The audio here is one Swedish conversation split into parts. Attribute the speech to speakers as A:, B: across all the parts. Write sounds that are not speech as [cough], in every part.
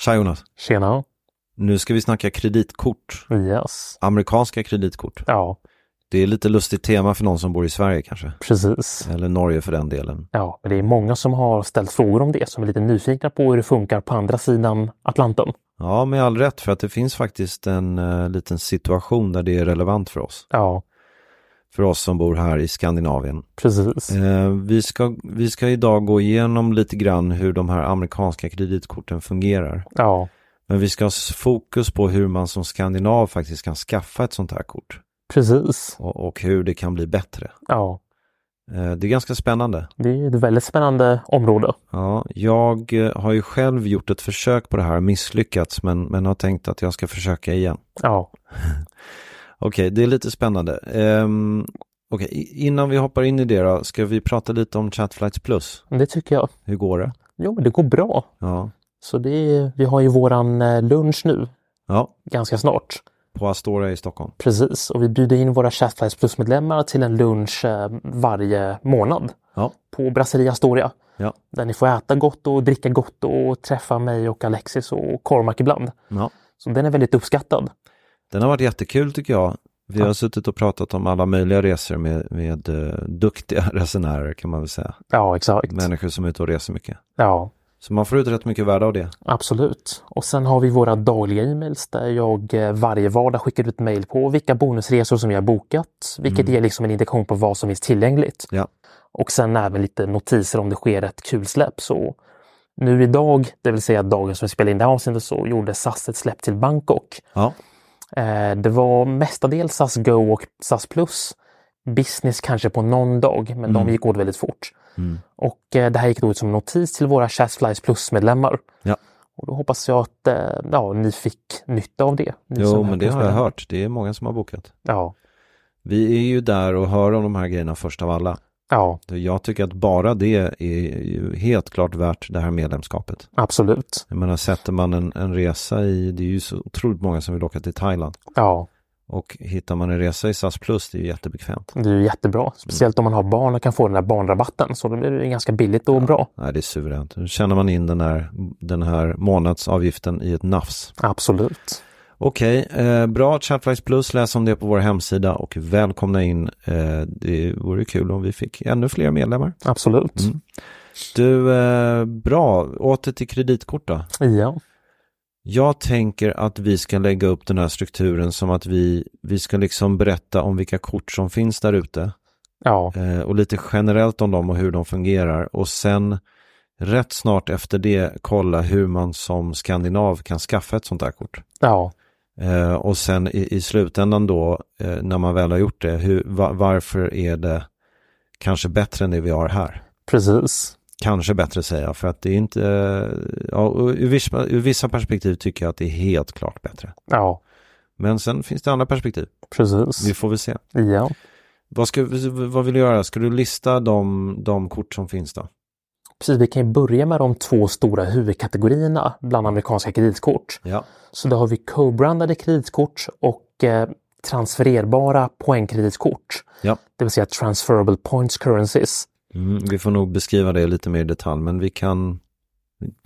A: Tja Jonas,
B: Tjena.
A: nu ska vi snacka kreditkort.
B: Yes.
A: Amerikanska kreditkort.
B: Ja,
A: Det är lite lustigt tema för någon som bor i Sverige kanske.
B: precis.
A: Eller Norge för den delen.
B: Ja, men det är många som har ställt frågor om det, som är lite nyfikna på hur det funkar på andra sidan Atlanten.
A: Ja, med all rätt för att det finns faktiskt en eh, liten situation där det är relevant för oss.
B: Ja,
A: För oss som bor här i Skandinavien.
B: precis.
A: Eh, vi, ska, vi ska idag gå igenom lite grann hur de här amerikanska kreditkorten fungerar.
B: Ja,
A: Men vi ska ha s- fokus på hur man som skandinav faktiskt kan skaffa ett sånt här kort.
B: precis.
A: Och, och hur det kan bli bättre.
B: Ja,
A: Eh, det är ganska spännande.
B: det är ett väldigt spännande område.
A: Ja, jag eh, har ju själv gjort ett försök på det här och misslyckats men, men har tänkt att jag ska försöka igen.
B: Ja,
A: Okej, det är lite spännande. Um, Okej, i- innan vi hoppar in i det då, ska vi prata lite om Chatflights Plus?
B: det tycker jag.
A: Hur går det?
B: Jo, men det går bra.
A: Ja,
B: Så det är, vi har ju våran eh, lunch nu,
A: ja
B: ganska snart.
A: på Astoria i Stockholm.
B: Precis, och vi bjuder in våra Chatflies Plus-medlemmar till en lunch eh, varje månad
A: Ja,
B: på Brasseria Astoria.
A: ja,
B: Där ni får äta gott och dricka gott och träffa mig och Alexis och Cormac ibland.
A: ja.
B: Så den är väldigt uppskattad.
A: Den har varit jättekul tycker jag. Vi har suttit och pratat om alla möjliga resor med, med eh, duktiga [laughs] resenärer kan man väl säga.
B: Ja, exakt.
A: Människor som är ute och reser mycket.
B: Ja,
A: Så man får ut rätt mycket värde av det.
B: absolut. Och sen har vi våra dagliga e-mails där jag eh, varje vardag skickar ut mejl på vilka bonusresor som jag har bokat, vilket ger liksom en indikation på vad som finns tillgängligt.
A: Ja,
B: Och sen även lite notiser om det sker ett kul släpp. Så nu idag, det vill säga dagen som vi spelade in det här avsnittet, så gjorde SAS ett släpp till Bangkok.
A: ja,
B: Eh, Det var mestadels SAS Go och SAS Plus. Business kanske på någon dag, men
A: Mm.
B: de gick åt väldigt fort. Och eh, det här gick då ut som notis till våra Chasflies Plus-medlemmar.
A: ja.
B: Och då hoppas jag att eh, ja, ni fick nytta av det. ni som
A: Jo,
B: är
A: men det har jag
B: Plus-medlemmar.
A: hört. Det är många som har bokat.
B: Ja,
A: Vi är ju där och hör om de här grejerna först av alla.
B: ja
A: Jag tycker att bara det är ju helt klart värt det här medlemskapet.
B: absolut.
A: Jag menar, sätter man en, en resa i, det är ju så otroligt många som vill åka till Thailand.
B: Ja,
A: Och hittar man en resa i SAS Plus, det är ju jättebekvämt.
B: det är ju
A: Mm.
B: jättebra. Speciellt om man har barn och kan få den här barnrabatten. Så då blir det ju ganska billigt och bra.
A: Nej, det är suveränt. Nu känner man in den här, den här månadsavgiften i ett nafs.
B: Absolut.
A: Okej, eh, bra Chatflies Plus, läs om det på vår hemsida och välkomna in. Eh, det vore kul om vi fick ännu fler medlemmar.
B: Absolut.
A: Mm. Du, eh, bra. Åter till kreditkort då.
B: Ja.
A: Jag tänker att vi ska lägga upp den här strukturen som att vi, vi ska liksom berätta om vilka kort som finns där ute
B: ja,
A: eh, och lite generellt om dem och hur de fungerar och sen rätt snart efter det kolla hur man som skandinav kan skaffa ett sånt här kort.
B: ja,
A: Eh, och sen i, i slutändan då eh, när man väl har gjort det, hur, va, varför är det kanske bättre än det vi har här?
B: precis.
A: Kanske bättre säger jag för att det är inte, eh, ja, och ur, vissa, ur vissa perspektiv tycker jag att det är helt klart bättre.
B: Ja,
A: Men sen finns det andra perspektiv. Vi
B: precis.
A: får väl se.
B: Ja.
A: Vad, ska, vad vill du göra? Ska du lista de, de kort som finns då?
B: Precis, vi kan ju börja med de två stora huvudkategorierna bland amerikanska kreditkort.
A: Ja.
B: Så då har vi co-brandade kreditkort och eh, transfererbara poängkreditkort.
A: ja.
B: Det vill säga transferable points currencies.
A: Mm, vi får nog beskriva det lite mer i detalj, men vi kan...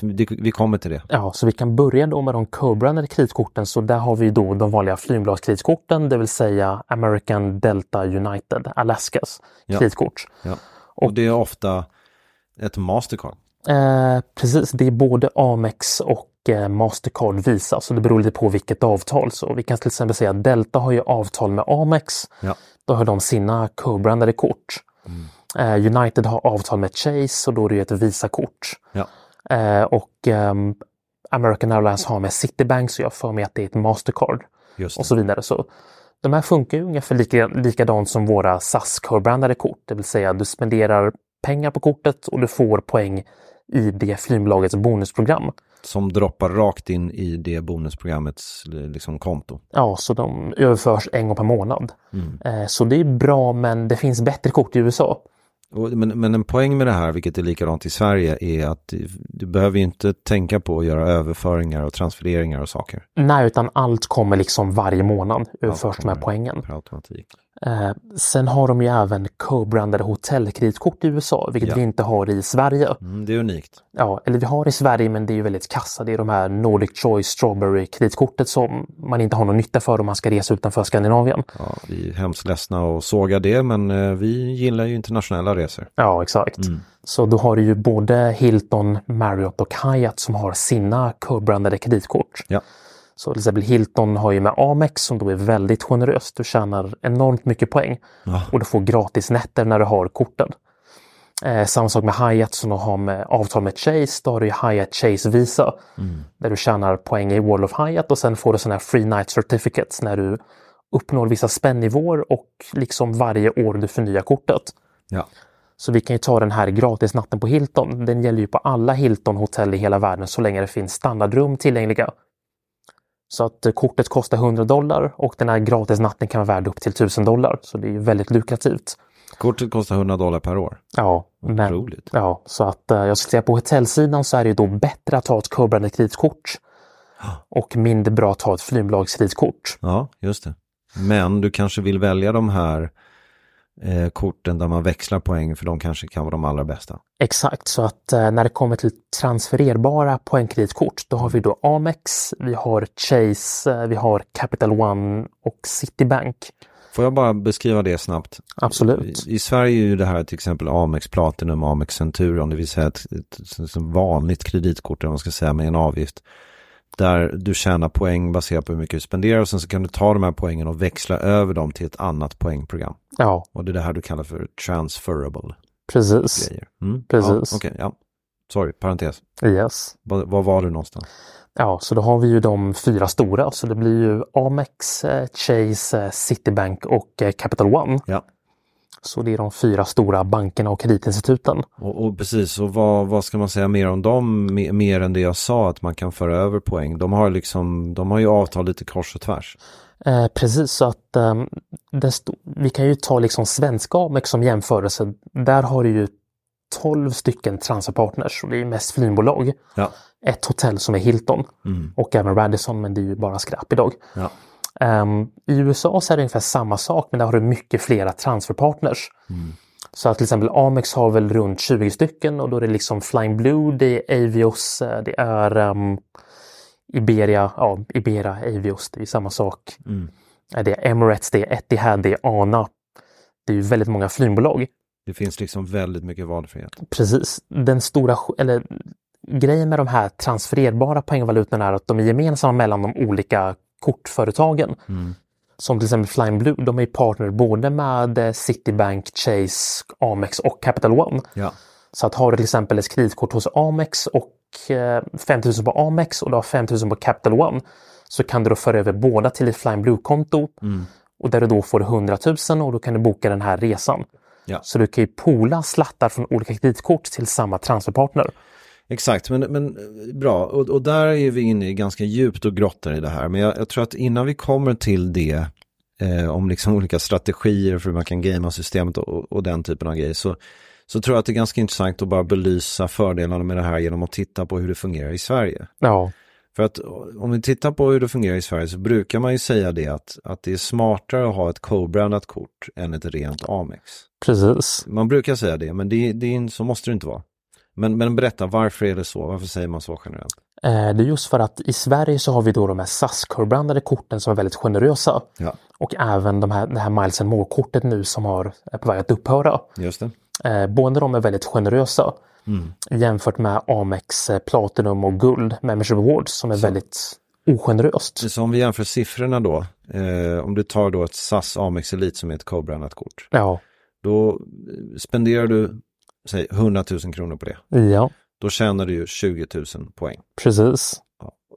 A: det- Vi kommer till det.
B: Ja, så vi kan börja då med de co-brandade kreditkorten. Så där har vi då de vanliga flygbladskreditkorten, det vill säga American Delta United, Alaskas
A: Ja.
B: kreditkort.
A: Ja. Och det är ofta ett Mastercard.
B: Eh, precis, det är både Amex och eh, Mastercard Visa, så det beror lite på vilket avtal. Så vi kan till exempel säga att Delta har ju avtal med Amex.
A: Ja.
B: Då har de sina co-brandade kort. Eh, United har avtal med Chase och då är det ju ett Visa-kort.
A: Ja.
B: Eh, och ehm, American Airlines har med Citibank så jag får med att det är ett Mastercard
A: Just
B: och så vidare. Så de här funkar ju ungefär lika, likadant som våra SAS co-brandade kort, det vill säga du spenderar pengar på kortet och du får poäng i det flygbolagets bonusprogram.
A: Som droppar rakt in i det bonusprogrammets eh, liksom, konto.
B: Ja, så de överförs en gång per månad.
A: Mm.
B: Eh, så det är bra, men det finns bättre kort i USA.
A: Och, men, men en poäng med det här, vilket är likadant i Sverige, är att du behöver ju inte tänka på att göra överföringar och transfereringar och saker.
B: Nej, utan allt kommer liksom varje månad överförs de
A: kommer
B: här poängen.
A: Per automatik.
B: Eh, sen har de ju även co-brandade hotellkreditkort i USA, vilket
A: Ja.
B: vi inte har i Sverige.
A: Mm, det är unikt.
B: Ja, eller vi har i Sverige, men det är ju väldigt kassa. Det är de här Nordic Choice Strawberry kreditkortet som man inte har någon nytta för om man ska resa utanför Skandinavien.
A: Ja, vi är hemskt ledsna och såga det, men eh, vi gillar ju internationella resor.
B: Ja, exakt. Så då har du ju både Hilton, Marriott och Hyatt som har sina co-brandade kreditkort.
A: Ja.
B: Så till exempel Hilton har ju med Amex som då är väldigt generöst. Du tjänar enormt mycket poäng och du får gratis nätter när du har korten. Eh, samma sak med Hyatt som de har med avtal med Chase. Då har du ju Hyatt Chase Visa där du tjänar poäng i World of Hyatt och sen får du sådana här Free Night Certificates när du uppnår vissa spännivåer och liksom varje år du förnyar kortet.
A: Ja.
B: Så vi kan ju ta den här gratisnatten på Hilton. Den gäller ju på alla Hilton-hotell i hela världen så länge det finns standardrum tillgängliga. Så att eh, kortet kostar 100 dollar och den här gratisnatten kan vara värd upp till 1000 dollar. Så det är ju väldigt lukrativt.
A: Kortet kostar 100 dollar per år.
B: Ja, men,
A: Otroligt.
B: ja så att eh, jag skulle säga på hotellsidan så är det ju då bättre att ta ett co-branded kreditkort och mindre bra att ta ett flygbolagskredittkort.
A: Ja, just det. Men du kanske vill välja de här eh, korten där man växlar poäng för de kanske kan vara de allra bästa.
B: Exakt, så att eh, när det kommer till transfererbara poängkreditkort, då har vi då Amex, vi har Chase, eh, vi har Capital One och Citibank.
A: Får jag bara beskriva det snabbt?
B: Absolut.
A: I, I Sverige är ju det här till exempel Amex Platinum, Amex Centurion, det vill säga ett, ett, ett vanligt kreditkort, eller vad man ska säga, med en avgift. Där du tjänar poäng baserat på hur mycket du spenderar och sen så kan du ta de här poängen och växla över dem till ett annat poängprogram.
B: Ja,
A: Och det är det här du kallar för transferable
B: precis.
A: grejer. Mm?
B: Precis.
A: Ja, Okej, ja. Sorry, parentes.
B: Yes.
A: Vad vad var du någonstans?
B: Ja, så då har vi ju de fyra stora, så det blir ju Amex, eh, Chase, eh, Citibank och eh, Capital One.
A: Ja.
B: Så det är de fyra stora bankerna och kreditinstituten.
A: Och, och precis, och vad, vad ska man säga mer om dem, me- mer än det jag sa, att man kan föra över poäng. De har, liksom, de har ju avtal lite kors och tvärs.
B: Eh, precis, så att ehm, den sto- vi kan ju ta liksom svenska Amex som jämförelse. Där har du ju 12 stycken transferpartners och det är ju mest flygbolag.
A: Ja,
B: Ett hotell som är Hilton och även Radisson, men det är ju bara skräp idag.
A: ja.
B: Ehm, I USA så är det ungefär samma sak, men där har du mycket flera transferpartners. Så att till exempel Amex har väl runt 20 stycken och då är det liksom Flying Blue, det är Avios, eh, det är ehm, Iberia, ja Iberia, Avios, det är ju samma sak.
A: Mm.
B: Eh, Det är Emirates, det är Etihad, det är ANA. Det är ju väldigt många flygbolag.
A: Det finns liksom väldigt mycket valfrihet.
B: Precis. Den stora sk- eller, grejen med de här transfererbara poängvalutorna är att de är gemensamma mellan de olika kortföretagen. Som till exempel Flying Blue, de är partner både med eh, Citibank, Chase, Amex och Capital One.
A: Ja.
B: Så att har du till exempel ett kreditkort hos Amex och eh, 5 000 på Amex och du har 5 000 på Capital One så kan du då föra över båda till ett Flying Blue-konto och där du då får 100 000 och då kan du boka den här resan.
A: Ja.
B: Så du kan ju poola slattar från olika kreditkort till samma transferpartner.
A: Exakt, men, men eh, bra. Och, och där är vi inne i ganska djupt och grottar i det här. Men jag, jag tror att innan vi kommer till det, [laughs] eh, om liksom olika strategier för hur man kan gamea systemet och, och den typen av grejer, så, så tror jag att det är ganska intressant att bara belysa fördelarna med det här genom att titta på hur det fungerar i Sverige.
B: Ja,
A: För att om vi tittar på hur det fungerar i Sverige så brukar man ju säga det att, att det är smartare att ha ett co-brandat kort än ett rent Amex.
B: precis.
A: Man brukar säga det, men det, det är, en- så måste det inte vara. Men, men berätta, varför är det så? Varför säger man så generellt?
B: Eh, Det är just för att i Sverige så har vi då de här SAS-brandade korten som är väldigt generösa.
A: Ja,
B: Och även de här, det här Miles More-kortet nu som har, är på väg att upphöra.
A: just det.
B: Eh, båda de är väldigt generösa
A: Mm.
B: jämfört med Amex eh, Platinum och Guld Membership Awards som är väldigt ogeneröst.
A: Så om vi jämför siffrorna då, eh, om du tar då ett SAS Amex Elite som är ett co-brandat kort,
B: Ja,
A: då eh, spenderar du, säg 100 000 kronor på det.
B: ja,
A: Då tjänar du ju 20 000 poäng,
B: precis.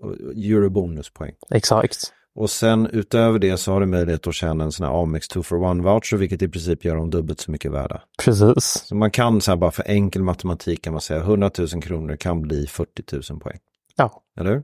A: Och eurobonuspoäng.
B: Exakt.
A: Och sen utöver det så har du möjlighet att tjäna en sån här Amex 2 for 1 voucher, vilket i princip gör dem dubbelt så mycket värda.
B: Precis.
A: Så man kan så här bara för enkel matematik kan man säga 100 000 kronor kan bli 40 000 poäng.
B: Ja,
A: Eller hur?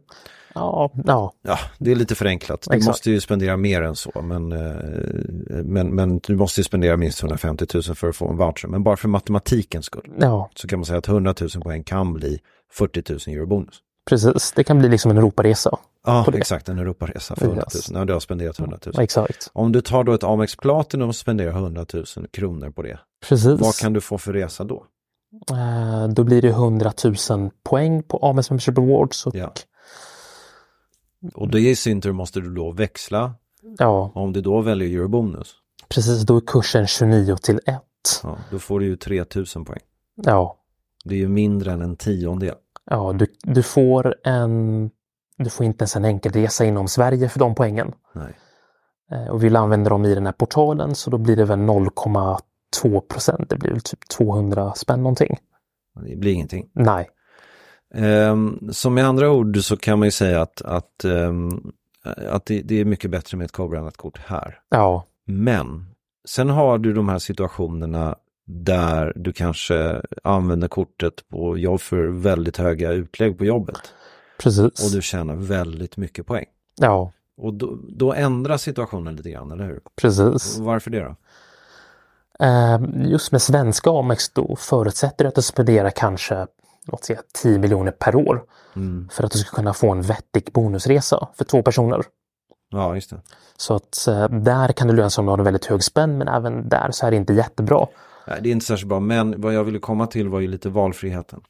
B: ja, ja,
A: Ja, det är lite förenklat. Du
B: Exakt.
A: måste ju spendera mer än så, men, eh, men, men du måste ju spendera minst 150 000 för att få en voucher. Men bara för matematikens skull
B: ja,
A: så kan man säga att 100 000 poäng kan bli 40 000 euro bonus.
B: precis. Det kan bli liksom en Europaresa.
A: Ja,
B: På det.
A: exakt. En Europaresa för 100 000.
B: Yes.
A: Ja, du har spenderat 100 000.
B: Exakt.
A: Om du tar då ett Amex Platinum och spenderar 100 000 kronor på det,
B: Precis.
A: vad kan du få för resa då?
B: Eh, då blir det 100 000 poäng på Amex Membership Awards. Och,
A: Ja. Och det i sin tur måste du då växla.
B: ja,
A: Om du då väljer eurobonus,
B: precis. Då är kursen 29 till 1.
A: ja, då får du ju 3 000 poäng.
B: Ja,
A: Det är ju mindre än en tiondel.
B: Ja, du, du får en... Du får inte ens en enkelresa inom Sverige för de poängen.
A: Nej.
B: Eh, Och vill använda dem i den här portalen så då blir det väl 0,2 procent. Det blir väl typ 200 spänn någonting.
A: Det blir ingenting.
B: Nej,
A: Ehm, så med andra ord så kan man ju säga att, att, ehm, att det, det är mycket bättre med ett co-brandat kort här.
B: ja,
A: Men sen har du de här situationerna där du kanske använder kortet på jobb för väldigt höga utlägg på jobbet
B: precis.
A: och du tjänar väldigt mycket poäng.
B: Ja,
A: Och då, då ändras situationen lite grann, eller hur?
B: precis.
A: Och Varför det då?
B: Eh, Just med svenska Amex då förutsätter det att du spenderar kanske låt säga 10 miljoner per år
A: Mm.
B: för att du ska kunna få en vettig bonusresa för två personer.
A: Ja, just det.
B: Så att eh, där kan det löna sig om du har en väldigt hög spänn men även där så är det inte jättebra.
A: Nej, det är inte särskilt bra, men vad jag ville komma till var ju lite valfriheten.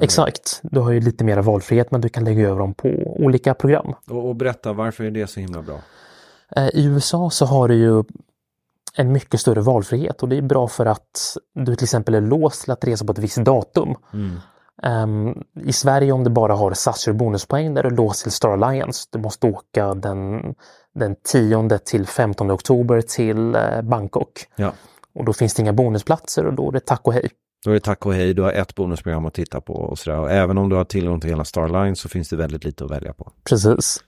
B: Exakt, du har ju lite mer valfrihet men du kan lägga över dem på olika program.
A: Och, och berätta, varför är det så himla bra?
B: Eh, I USA så har du ju en mycket större valfrihet och det är bra för att du till exempel är låst till att resa på ett visst datum. Ehm, I Sverige om du bara har SAS och bonuspoäng där du är låst till Star Alliance. Du måste åka den, den 10 till 15 oktober till eh, Bangkok.
A: Ja.
B: Och då finns det inga bonusplatser och då är det tack och hej.
A: Då är det tack och hej, du har ett bonusprogram att titta på och sådär. Och även om du har tillgång till hela Starline så finns det väldigt lite att välja på.
B: Precis.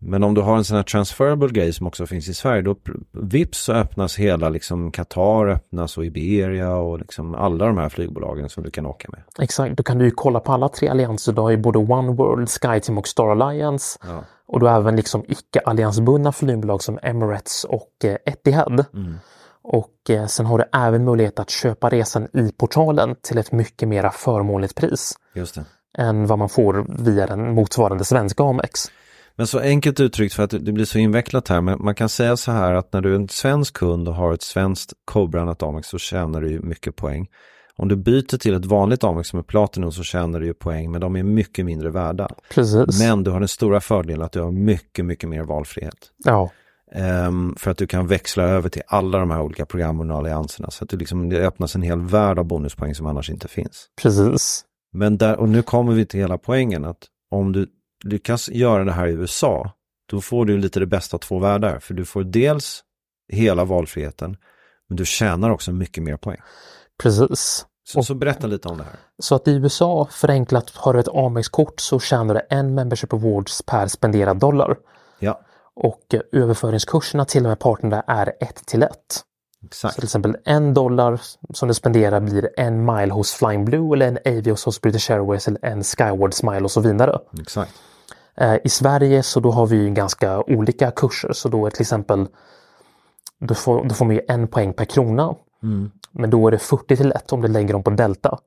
A: Men om du har en sån här transferable grej som också finns i Sverige, då pr- vips så öppnas hela liksom Qatar öppnas och Iberia och liksom alla de här flygbolagen som du kan åka med.
B: Exakt, då kan du ju kolla på alla tre allianser. Du har ju både One World, SkyTeam och Star Alliance. Och du har även liksom icke-alliansbundna flygbolag som Emirates och eh, Etihad. Och eh, sen har du även möjlighet att köpa resan i portalen till ett mycket mera förmånligt pris
A: Just det.
B: än vad man får via den motsvarande svenska Amex.
A: Men så enkelt uttryckt för att det blir så invecklat här, men man kan säga så här att när du är en svensk kund och har ett svenskt co-brandat Amex så tjänar du ju mycket poäng. Om du byter till ett vanligt Amex som är Platinum så tjänar du ju poäng, men de är mycket mindre värda.
B: Precis.
A: Men du har den stora fördelen att du har mycket, mycket mer valfrihet.
B: Ja,
A: Ehm, för att du kan växla över till alla de här olika programmen och allianserna. Så att du liksom, det öppnas en hel värld av bonuspoäng som annars inte finns.
B: precis.
A: Men där, och nu kommer vi till hela poängen att om du lyckas göra det här i USA, då får du lite det bästa av två världar. För du får dels hela valfriheten, men du tjänar också mycket mer poäng.
B: Precis.
A: Så, så berätta lite om det här.
B: Så att i USA, förenklat, har du ett Amex-kort så tjänar du en Membership Awards per spenderad dollar.
A: Ja,
B: Och eh, överföringskurserna till de här partnerna är 1 till 1. Så
A: exakt.
B: till exempel en dollar som du spenderar blir en mile hos Flying Blue eller en Avios hos British Airways eller en Skywards mile och så vidare.
A: exakt.
B: Eh, I Sverige så då har vi ju ganska olika kurser så då är till exempel du får, du får med en poäng per krona
A: Mm.
B: Men då är det 40 till 1 om du lägger dem på delta.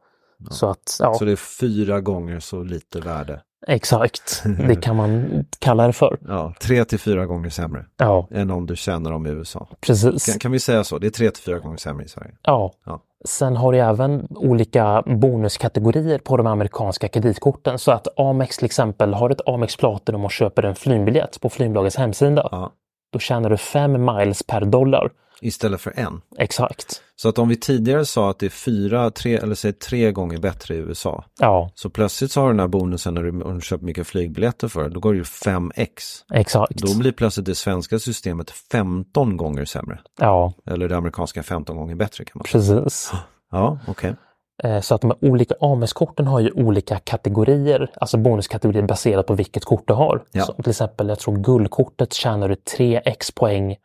B: Så att, ja,
A: Så det är fyra gånger så lite värde. [laughs]
B: exakt. Det kan man kalla det för.
A: Ja, tre till fyra gånger sämre
B: Ja,
A: än om du tjänar dem i USA.
B: precis.
A: Kan, kan vi säga så? Det är tre till fyra gånger sämre i Sverige.
B: Ja.
A: Ja.
B: Sen har du även olika bonuskategorier på de amerikanska kreditkorten. Så att Amex till exempel, har ett Amex Platinum och köper en flygbiljett på flygbolagets hemsida,
A: Ja.
B: då tjänar du 5 miles per dollar.
A: Istället för en.
B: Exakt.
A: Så att om vi tidigare sa att det är fyra, tre eller säg tre gånger bättre i USA.
B: Ja,
A: Så plötsligt så har du den här bonusen när du, om du köper mycket flygbiljetter för, då går det ju 5x.
B: exakt.
A: Då blir plötsligt det svenska systemet 15 gånger sämre.
B: Ja,
A: Eller det amerikanska 15 gånger bättre kan man säga.
B: precis.
A: Ja, okej.
B: Eh, Så att de här olika Amex-korten har ju olika kategorier, alltså bonuskategorier baserat på vilket kort du har.
A: Ja.
B: Så till exempel, jag tror guldkortet tjänar du 3x poäng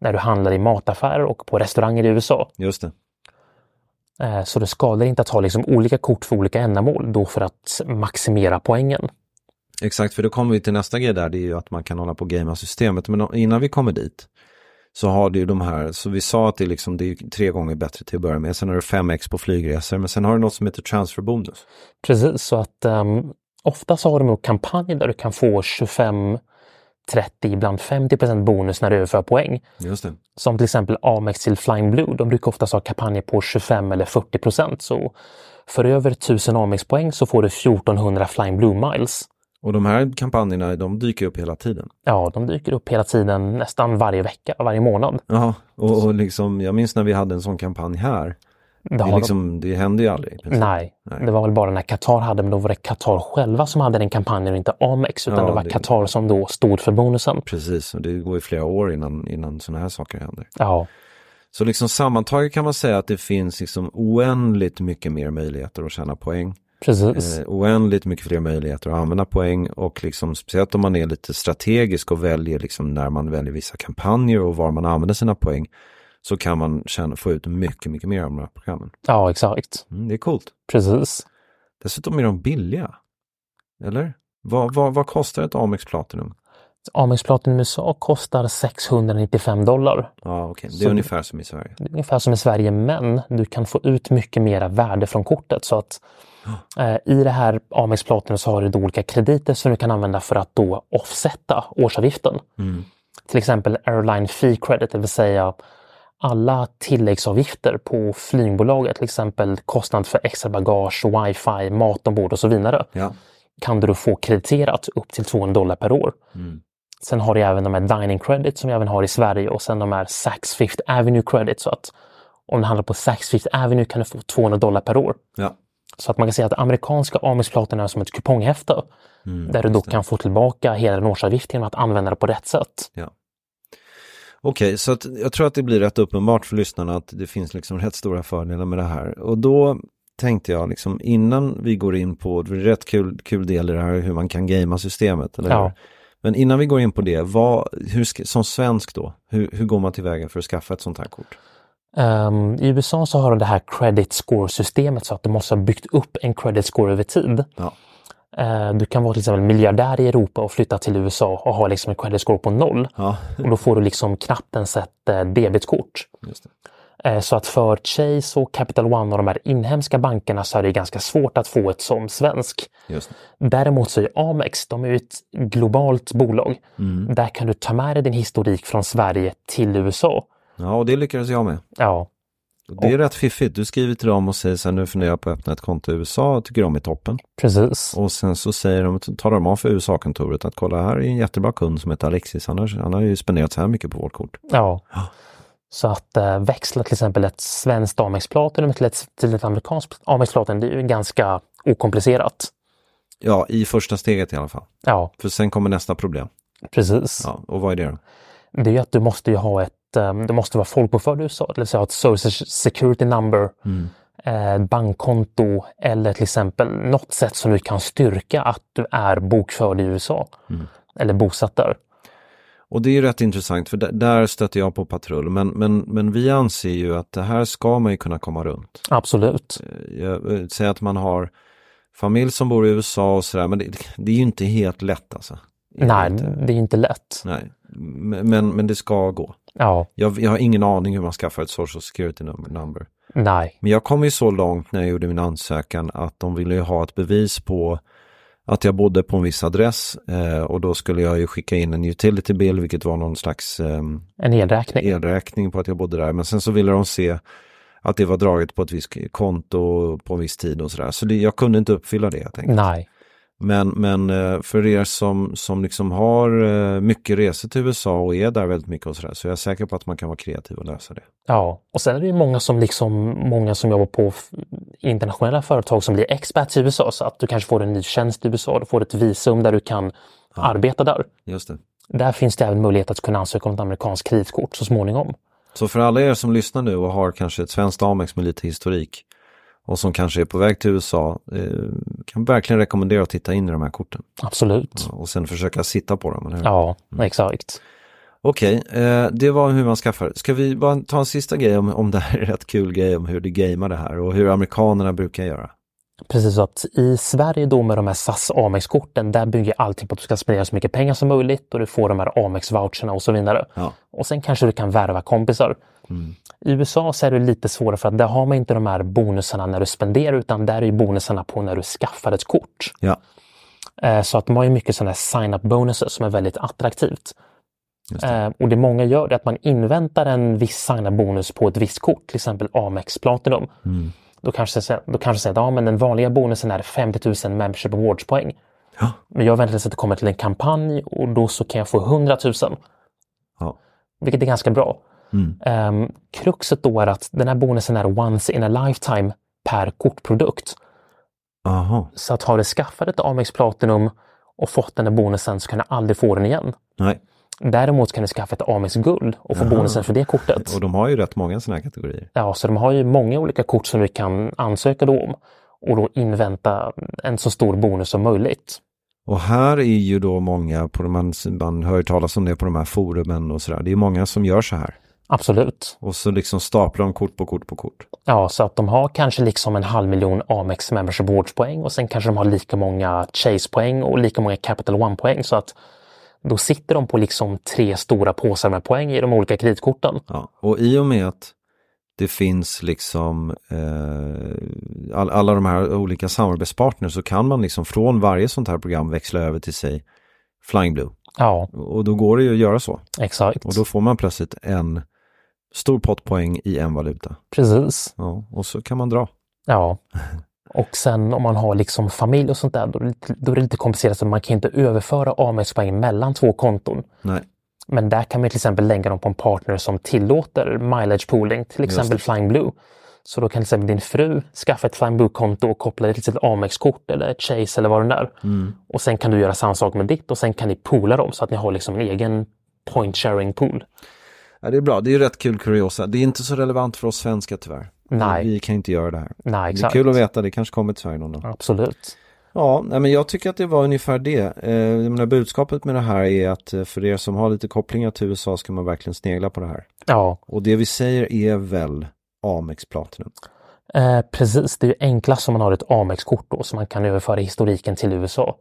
B: när du handlar i mataffärer och på restauranger i USA.
A: Just det.
B: Eh, Så det skadar inte att ha liksom olika kort för olika ändamål då för att maximera poängen.
A: Exakt, för då kommer vi till nästa grej där, det är ju att man kan hålla på och gamea systemet. Men innan vi kommer dit så har du ju de här, så vi sa att det är, liksom, det är ju tre gånger bättre till att börja med. Sen har du 5x på flygresor, men sen har du något som heter transferbonus.
B: Precis, så att um, ofta så har de nog kampanjer där du kan få 25, 30, ibland 50 bonus när du överför poäng.
A: Just det.
B: Som till exempel Amex till Flying Blue, de brukar oftast ha kampanjer på 25 eller 40 procent. Så för över 1000 Amex-poäng så får du 1400 Flying Blue Miles.
A: Och de här kampanjerna, de dyker upp hela tiden.
B: Ja, de dyker upp hela tiden, nästan varje vecka, varje månad.
A: Ja, och, och liksom, jag minns när vi hade en sån kampanj här.
B: Det har
A: Det,
B: de-
A: liksom, det hände ju aldrig. i princip.
B: Nej, det var väl bara när Qatar hade, men då var det Qatar själva som hade den kampanjen och inte Amex, utan
A: Ja,
B: det var
A: det-
B: Qatar som då stod för bonusen.
A: Precis, och det går ju flera år innan, innan sådana här saker händer.
B: Ja,
A: Så liksom sammantaget kan man säga att det finns liksom oändligt mycket mer möjligheter att tjäna poäng.
B: precis.
A: Eh, oändligt mycket fler möjligheter att använda poäng och liksom speciellt om man är lite strategisk och väljer liksom när man väljer vissa kampanjer och var man använder sina poäng så kan man tjäna, få ut mycket, mycket mer av de här programmen.
B: Ja, exakt.
A: Mm, det är coolt.
B: Precis.
A: Dessutom är de billiga. Eller? Vad, vad, vad kostar ett Amex Platinum?
B: Amex Platinum USA kostar 695 dollar.
A: Ja, okej. Det är
B: Så-
A: ungefär som i Sverige.
B: Det är ungefär som i Sverige, men du kan få ut mycket mera värde från kortet. Så att eh, i det här Amex Platinum så har du då olika krediter som du kan använda för att då offsetta årsavgiften. Till exempel Airline Fee Credit, det vill säga alla tilläggsavgifter på flygbolaget, till exempel kostnad för extra bagage, wifi, mat ombord och så vidare,
A: Ja.
B: kan du då få krediterat upp till 200 dollar per år. Sen har du även de här Dining Credit som jag även har i Sverige och sen de här Saks Fifth Avenue Credit. Så att om du handlar på Saks Fifth Avenue kan du få 200 dollar per år.
A: ja.
B: Så att man kan säga att amerikanska Amex-platan är som ett kuponghäfte där du då kan få tillbaka hela din årsavgift genom att använda det på rätt sätt.
A: Ja. Okej, så att jag tror att det blir rätt uppenbart för lyssnarna att det finns liksom rätt stora fördelar med det här. Och då tänkte jag liksom innan vi går in på, det är rätt kul, kul del i det här hur man kan gamea systemet, eller
B: Ja.
A: hur? Men innan vi går in på det, vad, hur, ska- som svensk då, hur, hur går man tillväga för att skaffa ett sånt här kort?
B: Ehm, I USA så har de det här credit score-systemet så att du måste ha byggt upp en credit score över tid.
A: Ja.
B: Eh, Du kan vara till exempel miljardär i Europa och flytta till USA och ha liksom en credit score på noll.
A: Ja,
B: Och då får du liksom knappt ens ett eh, debitkort.
A: just det.
B: Eh, Så att för Chase och Capital One och de här inhemska bankerna så är det ganska svårt att få ett som svensk.
A: Just det.
B: Däremot så är Amex, de är ju ett globalt bolag. Där kan du ta med dig din historik från Sverige till USA.
A: Ja, och det lyckades jag med.
B: Ja,
A: Och Det är rätt fiffigt. Du skriver till dem och säger så här, nu funderar jag på att öppna ett konto i USA, tycker de är toppen.
B: precis.
A: Och sen så säger de, talar de om för USA-kontoret att kolla här är en jättebra kund som heter Alexis, han har, han har ju spenderat så här mycket på vårt kort.
B: Ja. Så att eh, växla till exempel ett svenskt Amex Platinum till ett, till ett amerikanskt Amex Platinum, det är ju ganska okomplicerat.
A: Ja, i första steget i alla fall.
B: Ja,
A: För sen kommer nästa problem.
B: precis.
A: Ja, och vad är det då?
B: det är ju att du måste ju ha ett, eh, du måste vara folkbokförd i USA, det vill säga ha ett social security number, eh, bankkonto eller till exempel något sätt som du kan styrka att du är bokförd i USA eller bosatt där.
A: Och det är ju rätt intressant, för där, där stöter jag på patrull. Men, men, men vi anser ju att det här ska man ju kunna komma runt.
B: Absolut.
A: Jag, eh, säger att man har familj som bor i USA och sådär, men det, det är ju inte helt lätt alltså.
B: Nej, det är ju inte lätt.
A: Nej, men, men men det ska gå.
B: Ja,
A: Jag, jag har ingen aning hur man skaffar ett social security num- number.
B: nej.
A: Men jag kom ju så långt när jag gjorde min ansökan att de ville ju ha ett bevis på att jag bodde på en viss adress eh, och då skulle jag ju skicka in en utility bill, vilket var någon slags ehm,
B: En elräkning.
A: elräkning på att jag bodde där. Men sen så ville de se att det var draget på ett visst konto på en viss tid och sådär. Så det, jag kunde inte uppfylla det. Jag tänkte.
B: Nej.
A: Men, men eh, för er som, som liksom har eh, mycket resor till USA och är där väldigt mycket och sådär, så är jag säker på att man kan vara kreativ och lösa det.
B: Ja, och sen är det ju många som liksom, många som jobbar på f- internationella företag som blir expats i USA, så att du kanske får en ny tjänst i USA, du får ett visum där du kan arbeta där.
A: Just det.
B: Där finns det även möjlighet att kunna ansöka om ett amerikanskt kreditkort så småningom.
A: Så för alla er som lyssnar nu och har kanske ett svenskt Amex med lite historik och som kanske är på väg till USA, eh, kan verkligen rekommendera att titta in i de här korten
B: Absolut.
A: och sen försöka sitta på dem. Eller hur?
B: Ja, exakt.
A: Okej, eh, det var hur man skaffar. Ska vi bara ta en sista grej om, om det här är rätt kul grej om hur du gamear det här och hur amerikanerna brukar göra?
B: Precis så att i Sverige då med de här SAS Amex-korten, där bygger allting på att du ska spendera så mycket pengar som möjligt och du får de här Amex-voucherna och så vidare.
A: Ja.
B: Och sen kanske du kan värva kompisar. I USA så är det lite svårare för att där har man inte de här bonusarna när du spenderar utan där är ju bonusarna på när du skaffar ett kort.
A: Ja,
B: Eh, Så att de har ju mycket sådana här sign-up bonuses som är väldigt attraktivt. Eh, Och det många gör är att man inväntar en viss sign-up bonus på ett visst kort, till exempel Amex Platinum. Då kanske sen- då kanske säger att ja, men den vanliga bonusen är 50 000 membership awards-poäng.
A: Ja.
B: Men jag väntar tills att det kommer till en kampanj och då så kan jag få 100 000
A: ja. Mm.
B: vilket är ganska bra. Ehm, kruxet då är att den här bonusen är once in a lifetime per kortprodukt.
A: aha,
B: Så att har du skaffat ett Amex Platinum och fått den här bonusen så kan du aldrig få den igen.
A: nej.
B: Däremot kan du skaffa ett Amex Guld och få bonusen för det kortet.
A: Och de har ju rätt många sådana här kategorier.
B: Ja, så de har ju många olika kort som du kan ansöka då om och då invänta en så stor bonus som möjligt.
A: Och här är ju då många, på de här, man hör ju talas om det på de här forumen och sådär, det är många som gör så här.
B: Absolut.
A: Och så liksom staplar de kort på kort på kort.
B: Ja, så att de har kanske liksom en halv miljon Amex Membership Awards-poäng och sen kanske de har lika många Chase-poäng och lika många Capital One-poäng. Så att då sitter de på liksom tre stora påsar med poäng i de olika kreditkorten.
A: Ja. Och i och med att det finns liksom eh, all, alla de här olika samarbetspartners så kan man liksom från varje sånt här program växla över till sig Flying Blue.
B: Ja,
A: Och då går det ju att göra så.
B: exakt.
A: Och då får man plötsligt en stor pottpoäng i en valuta.
B: Precis.
A: Ja, och så kan man dra. [laughs]
B: Ja. Och sen om man har liksom familj och sånt där, då är det lite, då är det lite komplicerat. Så man kan inte överföra Amex-poäng mellan två konton.
A: Nej,
B: Men där kan man till exempel lägga dem på en partner som tillåter mileage pooling, till exempel Flying Blue. Så då kan till exempel din fru skaffa ett Flying Blue-konto och koppla det till sitt Amex-kort eller ett Chase eller vad den är. Och sen kan du göra samma sak med ditt och sen kan ni poola dem så att ni har liksom en egen point sharing pool.
A: ja, det är bra. Det är ju rätt kul kuriosa. Det är inte så relevant för oss svenskar tyvärr.
B: Nej.
A: Vi kan inte göra det här.
B: Nej,
A: Det är
B: exakt.
A: kul att veta, det kanske kommer till Sverige någon dag.
B: Absolut.
A: Ja, nej, men jag tycker att det var ungefär det. Eh, jag menar, budskapet med det här är att eh, för er som har lite kopplingar till USA ska man verkligen snegla på det här.
B: Ja,
A: Och det vi säger är väl Amex Platinum.
B: eh, precis. Det är ju enklast om man har ett Amex-kort då så man kan överföra historiken till USA.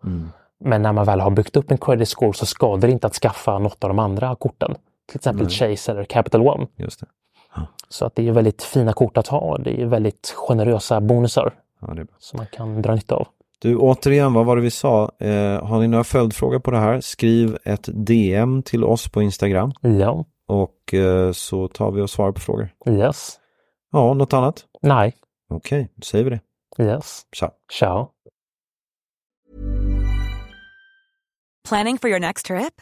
B: Men när man väl har byggt upp en credit score så skadar det inte att skaffa något av de andra korten. Till exempel Chase eller Capital One.
A: Just det.
B: Så att det är väldigt fina kort att ha. Det är väldigt generösa bonusar
A: Ja, det är bra.
B: som man kan dra nytta av.
A: Du, återigen, vad var det vi sa? Eh, har ni några följdfrågor på det här? Skriv ett DM till oss på Instagram
B: Ja,
A: och eh, så tar vi och svarar på frågor.
B: yes,
A: Ja, något annat?
B: nej,
A: Okej, då säger vi det.
B: yes,
A: Ciao.
B: ciao.
C: Planning for your next trip?